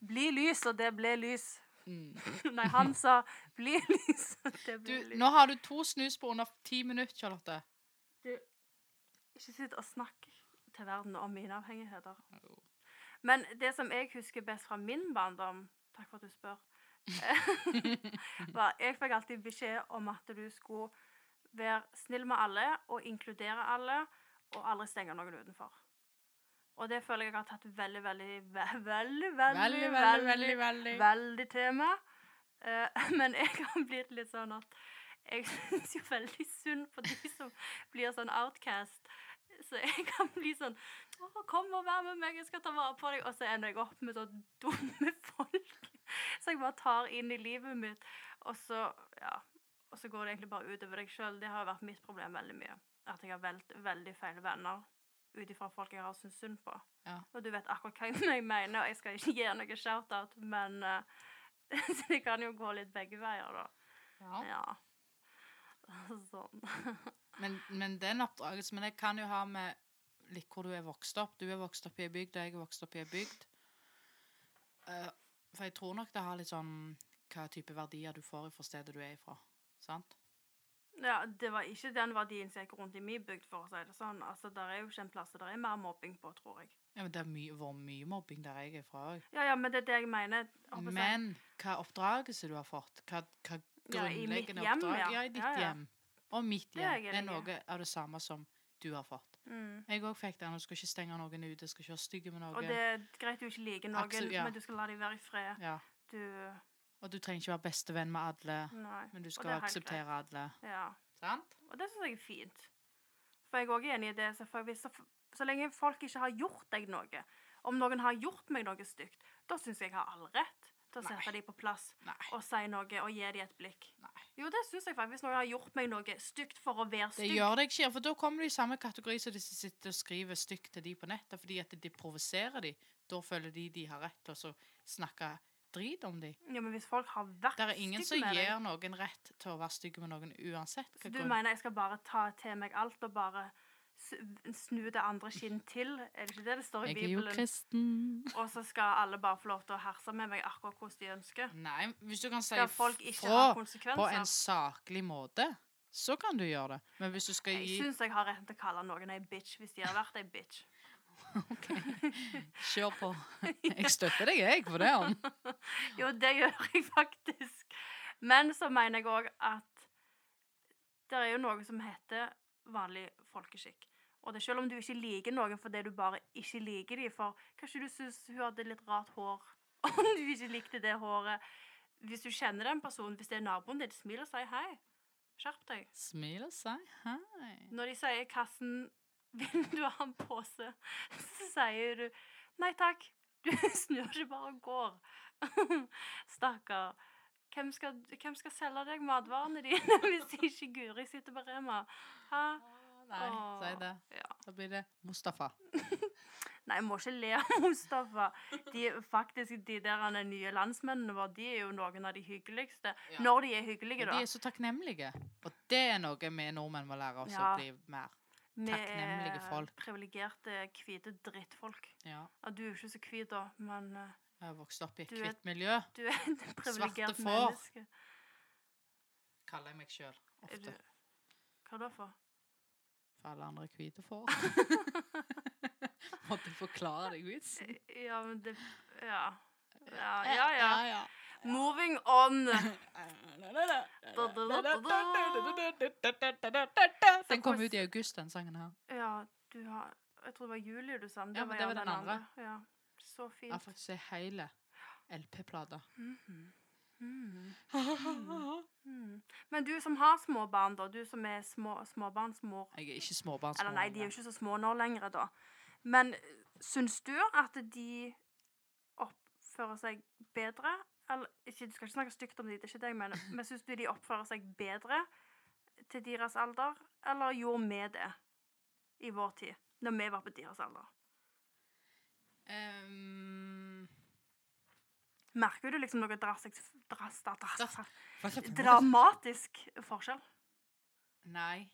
S1: blir lys, og det ble lys. <laughs>
S2: Mm.
S1: Nei, han sa bli lys, og det
S2: Du,
S1: ble lys.
S2: nå har du to snus på under ti minutter, Charlotte.
S1: Ikke sitt og snakk til verden om mine avhengigheter.
S2: Jo.
S1: Men det som jeg husker best fra min barndom, takk for at du spør, eh, <laughs> var jeg fikk alltid beskjed om at du skulle være snill med alle og inkludere alle, og aldri stenge noen utenfor. Og det føler jeg har tatt veldig, veldig, ve- veldig, veldig,
S2: Veldig, veldig,
S1: veldig,
S2: veldig. veldig.
S1: veldig tema. Eh, <laughs> men jeg har blitt litt sånn at jeg <laughs> syns jo veldig synd på de som blir sånn outcast. Så jeg kan bli sånn Å, kom og vær med meg, jeg skal ta vare på deg. Og så ender jeg opp med så dumme <laughs> folk. Så jeg bare tar inn i livet mitt, og så ja, og så går det egentlig bare utover deg sjøl. Det har vært mitt problem veldig mye. At jeg har valgt veldig feil venner ut ifra folk jeg har syntes synd på.
S2: Ja.
S1: Og du vet akkurat hva jeg <laughs> mener, og jeg skal ikke gi noe shout-out, men eh, <laughs> Så det kan jo gå litt begge veier, da.
S2: Ja.
S1: Ja. <laughs> Sånn.
S2: Men, men den oppdragelsen Men det kan jo ha med litt hvor du er vokst opp. Du er vokst opp i ei bygd, og jeg er vokst opp i ei bygd. Eh, for jeg tror nok det har litt sånn hva type verdier du får fra stedet du er ifra. Sant?
S1: Ja, det var ikke den verdien som gikk rundt i min bygd, for å si det sånn. Altså, Der er jo ikke en plass der det er mer mobbing på, tror jeg.
S2: Ja, men Det har my- vært mye mobbing der jeg er fra òg.
S1: Ja, ja, men det er det jeg mener. holdt på å si.
S2: Men hva oppdragelse du har fått, hva, hva
S1: Ja, i mitt
S2: grunnleggende
S1: hjem,
S2: oppdrag
S1: ja.
S2: ja. i ditt
S1: Ja, ja.
S2: hjem og mitt
S1: Det er
S2: hjem,
S1: jeg
S2: er
S1: enig i.
S2: noe av det samme som du har fått.
S1: mm.
S2: Jeg òg fikk den. Du skal ikke stenge noen ute, du skal ikke være stygge med
S1: Og
S2: noen.
S1: det er greit du ikke liker noen,
S2: Absolutt, ja.
S1: men du skal la dem være i fred.
S2: ja.
S1: Du
S2: Og du trenger ikke være bestevenn med alle.
S1: Nei.
S2: Men du
S1: Og
S2: skal
S1: det er helt
S2: akseptere
S1: greit.
S2: alle.
S1: Ja.
S2: Sant?
S1: Og det syns jeg er fint. For jeg er også enig i det. selvfølgelig. Så, så lenge folk ikke har gjort deg noe, om noen har gjort meg noe stygt, da syns jeg jeg har all rett til å
S2: Nei.
S1: sette dem på plass
S2: Nei.
S1: og si noe og gi dem et blikk.
S2: Nei.
S1: Jo, det syns jeg faktisk. Hvis noen har gjort meg noe stygt for å være
S2: Det
S1: stygg.
S2: gjør det ikke, for da kommer du i samme kategori som de som sitter og skriver stygt til de på nettet, fordi at de provoserer de. Da føler de de har rett til å så snakke drit om de.
S1: Ja, men hvis folk har vært
S2: Det er ingen som
S1: stygge med deg
S2: gir noen rett til å være stygge med noen uansett.
S1: Så
S2: hva
S1: du
S2: grunn-
S1: mener jeg skal bare ta til meg alt og bare s- snu det andre skinn til? Er det ikke det det står i
S2: jeg er jo
S1: Bibelen?
S2: kristen.
S1: Og så skal alle bare få lov til å herse med meg akkurat hvordan de ønsker?
S2: Nei, hvis du kan si
S1: Skal folk ikke ha
S2: fra på en
S1: konsekvenser?
S2: saklig måte, så kan du gjøre det. Men hvis du skal
S1: Jeg
S2: gi
S1: syns jeg har retten til å kalle noen ei bitch hvis de har vært ei bitch.
S2: OK. Kjør på. Jeg støtter deg, jeg, for det.
S1: <laughs>
S2: Om. <gasps>
S1: Jo, det gjør jeg faktisk. Men så mener jeg òg at det er jo noe som heter vanlig folkeskikk. Og det er selv om du ikke liker noen fordi du bare ikke liker dem, for kanskje du syns hun hadde litt rart hår, <laughs> om du ikke likte det håret. Hvis du kjenner den personen, hvis det er naboen din, smil og si hei. Skjerp deg.
S2: Smil og si hei.
S1: Når de sier i kassen 'Vil du ha en pose?', så sier du 'Nei takk'. Du <laughs> snur ikke bare og går. <laughs> Stakkar. Hvem skal, hvem skal selge deg matvarene dine <laughs> hvis ikke Guri sitter på Rema? Hæ?
S2: Ah, Nei,
S1: Åh,
S2: si det.
S1: ja.
S2: Da blir det Mustafa.
S1: Nei, jeg må ikke le av Mustafa. De, faktisk, de der han er nye landsmennene våre, de er jo noen av de hyggeligste.
S2: Ja.
S1: Når de er
S2: Men
S1: hyggelige,
S2: de
S1: da.
S2: er så takknemlige. Og det er noe vi nordmenn må lære oss
S1: Ja.
S2: å bli mer.
S1: Vi
S2: takknemlige
S1: er
S2: folk.
S1: eh, privilegerte, hvite drittfolk.
S2: Ja.
S1: Ja, du er jo ikke så hvit, da, men eh,
S2: Jeg har vokst opp i et
S1: Du er-
S2: hvitt miljø,
S1: du er et privilegert
S2: får.
S1: menneske.
S2: kaller jeg meg sjøl
S1: Er du-
S2: ofte.
S1: Hva da for?
S2: For alle andre er hvite
S1: <laughs>
S2: får. Måtte jeg forklare deg vitsen?
S1: Ja, men det Ja. Ja, ja. ja.
S2: Eh, ja.
S1: Moving on.
S2: Den kom ut i august, den sangen her.
S1: Ja, du har Jeg tror det var Julie du sang.
S2: Ja, men det
S1: jo
S2: var den andre.
S1: Ja. Så
S2: Jeg har
S1: fint.
S2: faktisk en hele LP-plate.
S1: Mhm. Mhm.
S2: <laughs>
S1: Mhm. Men du som har små barn, da. Du som er små, småbarnsmor.
S2: Jeg er ikke småbarnsmor.
S1: Eller nei, de er jo ikke så små nå lenger, da. Men syns du at de oppfører seg bedre? Eller, ikke, du skal ikke snakke stygt om de, det er ikke det jeg mener. Men syns du de oppfører seg bedre til deres alder? Eller gjorde vi det i vår tid, når vi var på deres alder?
S2: Ehm,
S1: Merker du liksom noe drastisk, dras, da- dras,
S2: Dras- hva slags-
S1: dramatisk forskjell?
S2: Nei.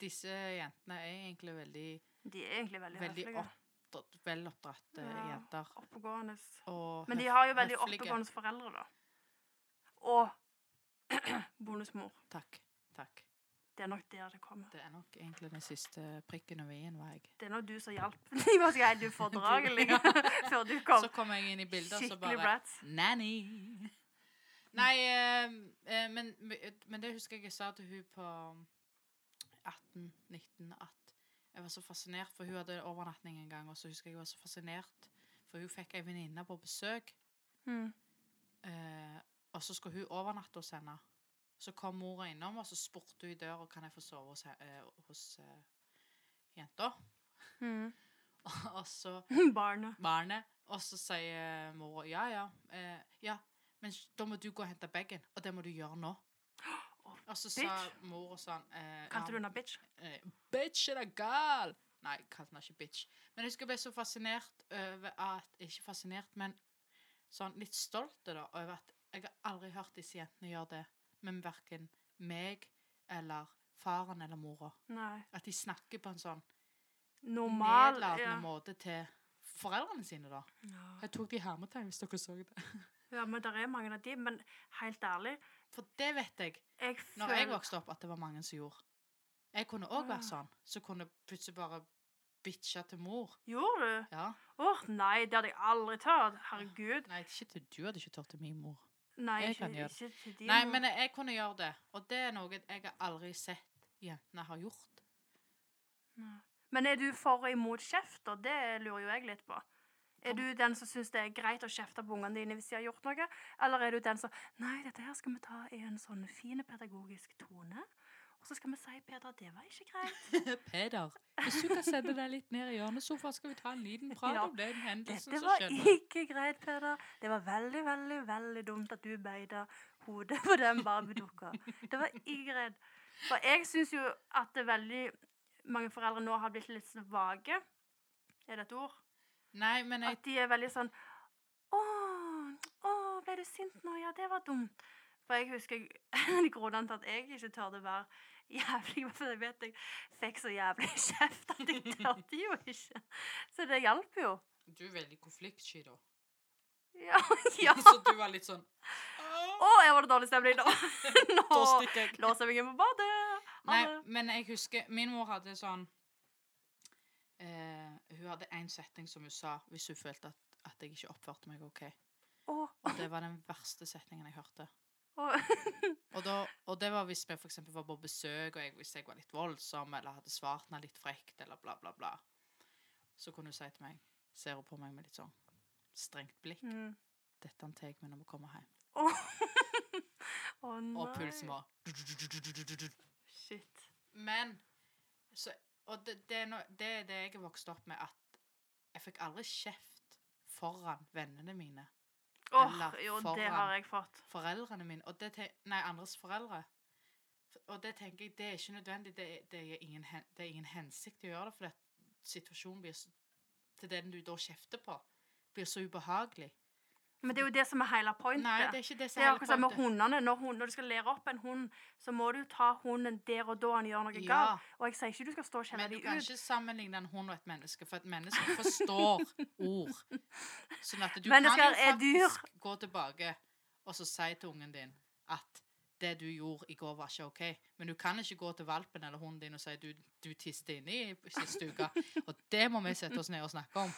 S2: Disse jentene er egentlig veldig,
S1: De er egentlig veldig,
S2: veldig
S1: høflige.
S2: oppdratt- veloppdratte
S1: Ja.
S2: jenter.
S1: Oppegående.
S2: Og
S1: Men de
S2: høf-
S1: har jo veldig
S2: høflige.
S1: oppegående foreldre, da. Og <clears throat> bonusmor.
S2: Takk. Takk.
S1: Det er nok der det kommer.
S2: Det er nok egentlig den siste prikken over i-en, var jeg.
S1: Det er når du som <laughs> hjalp. De var så helt
S2: <laughs>
S1: ufordragelige <laughs> før du kom.
S2: Så kom jeg inn i bildet, og så
S1: Skikkelig
S2: bare
S1: brats.
S2: Nanny! Nei, eh, eh, men, men det husker jeg jeg sa til hun på 18-19 at jeg var så fascinert, for hun hadde overnatting en gang, og så husker jeg jeg var så fascinert, for hun fikk ei venninne på besøk,
S1: Mm.
S2: eh, og så skulle hun overnatte hos henne. Så kom mora innom, og så spurte hun i døra kan jeg få sove hos, he- eh, hos eh, jenta. <laughs>
S1: Mm.
S2: og så
S1: <laughs> Barnet.
S2: barnet, og så sier mora ja, ja, eh, ja, men s- da må du gå og hente bagen, og det må du gjøre nå. Og så sa
S1: bitch.
S2: mora sånn eh,
S1: Kalte du
S2: ja,
S1: henne bitch?
S2: eh, Bitch, er det gal? Nei, jeg kalte henne ikke bitch. Men jeg husker jeg ble så fascinert over at Ikke fascinert, men sånn litt stolt da, over at jeg har aldri hørt disse jentene gjøre det med verken meg eller faren eller mora.
S1: Nei.
S2: At de snakker på en sånn
S1: Normal.
S2: nedlatende
S1: Ja.
S2: måte til foreldrene sine, da.
S1: Ja.
S2: Jeg tok de hermetegn hvis dere så det.
S1: ja, men det er mange av de. Men helt ærlig,
S2: For det vet jeg,
S1: jeg
S2: når jeg
S1: føler
S2: vokste opp, at det var mange som gjorde. Jeg kunne òg vært sånn, så kunne jeg plutselig bare bitcha til mor.
S1: Gjorde du?
S2: Ja.
S1: Åh, nei, det hadde jeg aldri tørt. Herregud.
S2: Nei, ikke til du hadde ikke turt til min mor.
S1: Nei,
S2: Jeg
S1: ikke,
S2: kan gjøre
S1: ikke til de.
S2: Nei,
S1: nå.
S2: men jeg, jeg kunne gjøre det. Og det er noe jeg har aldri sett jentene har gjort.
S1: Men er du for og imot kjefter? Det lurer jo jeg litt på. Er du den som syns det er greit å kjefte på ungene dine hvis de har gjort noe? Eller er du den som Nei, dette her skal vi ta i en sånn fin pedagogisk tone. Og så skal vi si, Peder, det var ikke greit.
S2: Peder, hvis du kan sette deg litt ned i hjørnesofaen, skal vi ta en liten prat
S1: Ja.
S2: om den hendelsen
S1: Dette
S2: som
S1: var
S2: skjedde.
S1: ikke greit, Peder. Det var veldig, veldig veldig dumt at du beida hodet på den barbedukka. Det var ikke greit. For jeg syns jo at det er veldig mange foreldre nå har blitt litt vage. Er det et ord?
S2: Nei, men jeg
S1: At de er veldig sånn Å, å ble du sint nå? Ja, det var dumt. For jeg <laughs> husker jeg- grunnen til at jeg ikke tørde å være jævlig, var fordi jeg vet jeg fikk så jævlig <laughs> kjeft at jeg tørte jo ikke. Så det hjalp jo.
S2: Du er veldig konfliktsky, da.
S1: Ja. <laughs> ja.
S2: <laughs> Så du var litt sånn
S1: Å, jeg var det dårlig stemning nå.
S2: Da
S1: Nå <laughs>
S2: stikker jeg.
S1: låser jeg meg inn på badet. Ha
S2: Nei,
S1: det.
S2: men jeg husker Min mor hadde sånn eh, hun hadde én setning som hun sa hvis hun følte at, at jeg ikke oppførte meg OK.
S1: Å,
S2: Og det var den verste setningen jeg hørte.
S1: å,
S2: Og, da, og det var hvis vi for eksempel var på besøk, og jeg, hvis jeg var litt voldsom, eller hadde svart henne litt frekt, eller bla, bla, bla. Så kunne hun si til meg, ser hun på meg med litt sånn strengt blikk,
S1: mm.
S2: dette tar jeg med når vi kommer hjem.
S1: Å, nei.
S2: Og pulsen var
S1: Shit.
S2: Men så, Og det, det, er no, det er det jeg vokste opp med, at jeg fikk aldri kjeft foran vennene mine.
S1: Åh,
S2: Eller
S1: jo, det
S2: foran.
S1: har jeg fått.
S2: foreldrene mine, og det te- nei, andres foreldre. F- Og det tenker jeg, det er ikke nødvendig, det, er- det, er, ingen, hen- det er ingen hensikt til å gjøre det, for at situasjonen blir, s- til den du da kjefter på, blir så ubehagelig.
S1: Men det er jo det som er hele pointet.
S2: Nei, det er ikke det som
S1: Det er
S2: er hele
S1: akkurat som med
S2: pointet.
S1: hundene. Når, hun, når du skal lære opp en hund, så må du ta hunden der og da han gjør noe
S2: Ja.
S1: galt. Og jeg sier ikke du skal stå og skjelle
S2: Men du
S1: dem
S2: kan
S1: ut.
S2: ikke sammenligne en hund og et menneske, for et menneske forstår ord. Sånn at du
S1: Mennesker
S2: kan jo
S1: er dyr.
S2: faktisk gå tilbake og så si til ungen din at det du gjorde i går, var ikke OK. Men du kan ikke gå til valpen eller hunden din og si du, du tiste inni sist uke. Og det må vi sette oss ned og snakke om.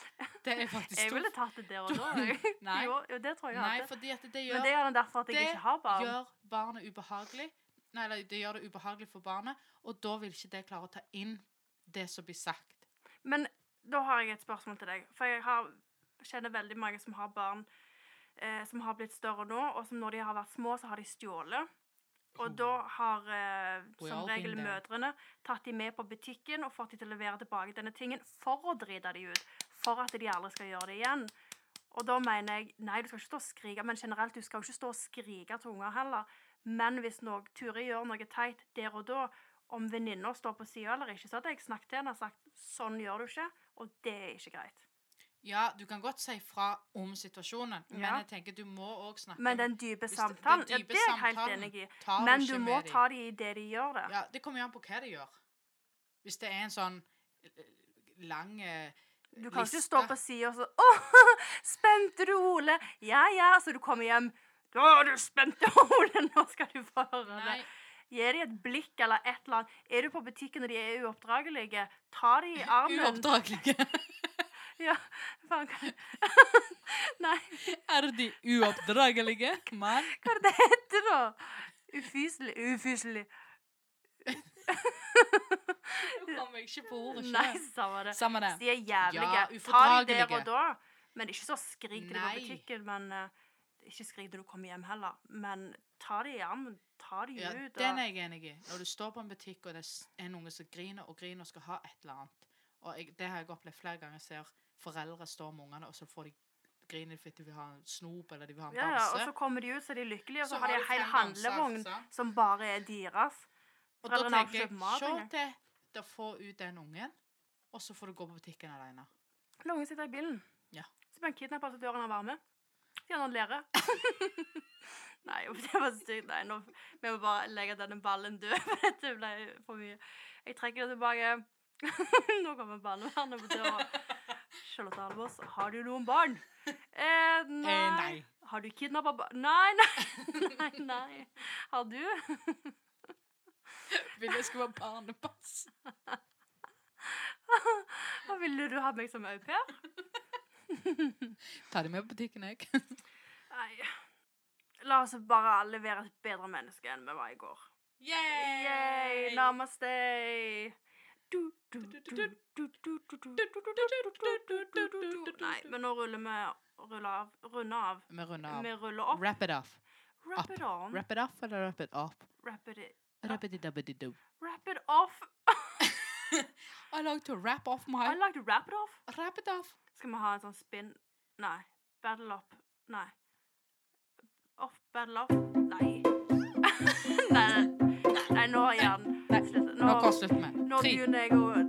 S2: Det er faktisk
S1: Jeg ville tatt det der
S2: <laughs>
S1: og da. jeg.
S2: Nei.
S1: Jo, jo, det tror jeg
S2: Nei,
S1: jeg hadde.
S2: fordi at det
S1: Men
S2: gjør
S1: det er jo derfor at jeg
S2: det
S1: ikke har barn.
S2: gjør barnet ubehagelig. Nei, eller det gjør det ubehagelig for barnet, og da vil ikke det klare å ta inn det som blir sagt.
S1: Men da har jeg et spørsmål til deg. For jeg har, kjenner veldig mange som har barn eh, som har blitt større nå, og som når de har vært små, så har de stjålet. Og da har eh,
S2: We
S1: som
S2: all been
S1: regel
S2: there.
S1: mødrene tatt de med på butikken og fått de til å levere tilbake denne tingen for å drite de ut. For at de aldri skal gjøre det igjen. Og da mener jeg Nei, du skal ikke stå og skrike. Men generelt, du skal jo ikke stå og skrike til unger heller. Men hvis noe, Turi gjør noe teit der og da, om venninna står på sida eller ikke, så hadde jeg snakket til henne og sagt sånn gjør du ikke, og det er ikke greit.
S2: Ja, du kan godt si fra om situasjonen, men
S1: Ja.
S2: jeg tenker du må òg snakke
S1: Men den dype
S2: Mm. Hvis det- den
S1: samtalen, ja,
S2: dype
S1: det er jeg helt
S2: samtalen
S1: enig i.
S2: tar du
S1: Men
S2: ikke
S1: du
S2: med
S1: må
S2: de.
S1: ta de i det de gjør det.
S2: Ja, Det kommer jo an på hva de gjør. Hvis det er en sånn eh, lang eh,
S1: Du kan ikke
S2: liste.
S1: stå på sida og så <laughs> Å, spente du, Ole? Ja ja. Så du kommer hjem. Å, du spente, Ole. <laughs> Nå skal du få høre det.
S2: Nei,
S1: Gi dem et blikk eller et eller annet. Er du på butikken og de er uoppdragelige, ta de i
S2: <laughs>
S1: armen.
S2: uoppdragelige.
S1: <laughs> Ja, faen, <laughs> hva- Nei,
S2: Er de uoppdragelige? Mann.
S1: hva er det det heter da? Ufyselig. Ufyselig.
S2: Nå kommer jeg ikke på ordet
S1: Nei,
S2: sjøl.
S1: samme det.
S2: Samme det.
S1: De er jævlige. ta
S2: Ja,
S1: de der
S2: ufordragelige.
S1: og da. Men ikke så skrik til de på
S2: Nei.
S1: butikken. Men eh, ikke skrik til du kommer hjem heller. Men ta de i armen. Ta de
S2: Ja,
S1: ut.
S2: den
S1: Og,
S2: er jeg enig i. Når du står på en butikk, og det er s- en unge som griner og griner og skal ha et eller annet Og jeg, Det har jeg opplevd flere ganger. Jeg ser foreldre står med ungene, og så får de griner fordi de vil ha en snop eller de vil ha en
S1: ja, ja,
S2: bamse.
S1: og så kommer de ut, så er de lykkelige, og så,
S2: Så
S1: har de
S2: har
S1: en
S2: de
S1: hel
S2: fem altså. bamser,
S1: handlevogn
S2: sant?
S1: som bare er deres.
S2: Og da
S1: Foreldrene har
S2: tenker jeg,
S1: ikke kjøpt mat
S2: se
S1: engang.
S2: til til å få ut den ungen, og så får du gå på butikken alene.
S1: La ungen sitte i bilen.
S2: Ja.
S1: Så blir han kidnappa av døren han var med. Sier han han lærer. <laughs> Nei, uff, det var stygt. Nei, nå, vi må bare legge denne ballen død, <laughs> for dette ble for mye. Jeg trekker det tilbake. <laughs> nå kommer barnevernet på døra. Charlotte Alvors, har du noen barn? Eh, nei.
S2: Eh, nei.
S1: Har du kidnappa barn? Nei, nei, <laughs> nei, nei. Har du?
S2: Vil jeg skulle være barnepass?
S1: Hva ville du ha meg som au pair?
S2: Ta det med på butikken, jeg.
S1: Nei. La oss bare alle være et bedre menneske enn vi var i går. Yay! Namaste! Du, du, du, du, du, du, du, du, du, du. Nei, men nå ruller vi ruller av, runder av.
S2: Vi runder
S1: Vi
S2: av.
S1: ruller opp.
S2: Wrap it off.
S1: Wrap it on.
S2: Wrap it off eller wrap it up?
S1: Wrap it i-
S2: Wrap it up.
S1: Wrap it off.
S2: I like to wrap off
S1: I
S2: my
S1: like to wrap it off.
S2: Wrap it off.
S1: Skal vi ha en sånn spinn? Nei. Battle up. Nei. Off, battle off. Nei. <laughs> Nei, nei. nei nå er hjernen
S2: Nei,
S1: Slutt.
S2: Nå avslutter vi.
S1: Nå
S2: Tre.
S1: begynner jeg å eh,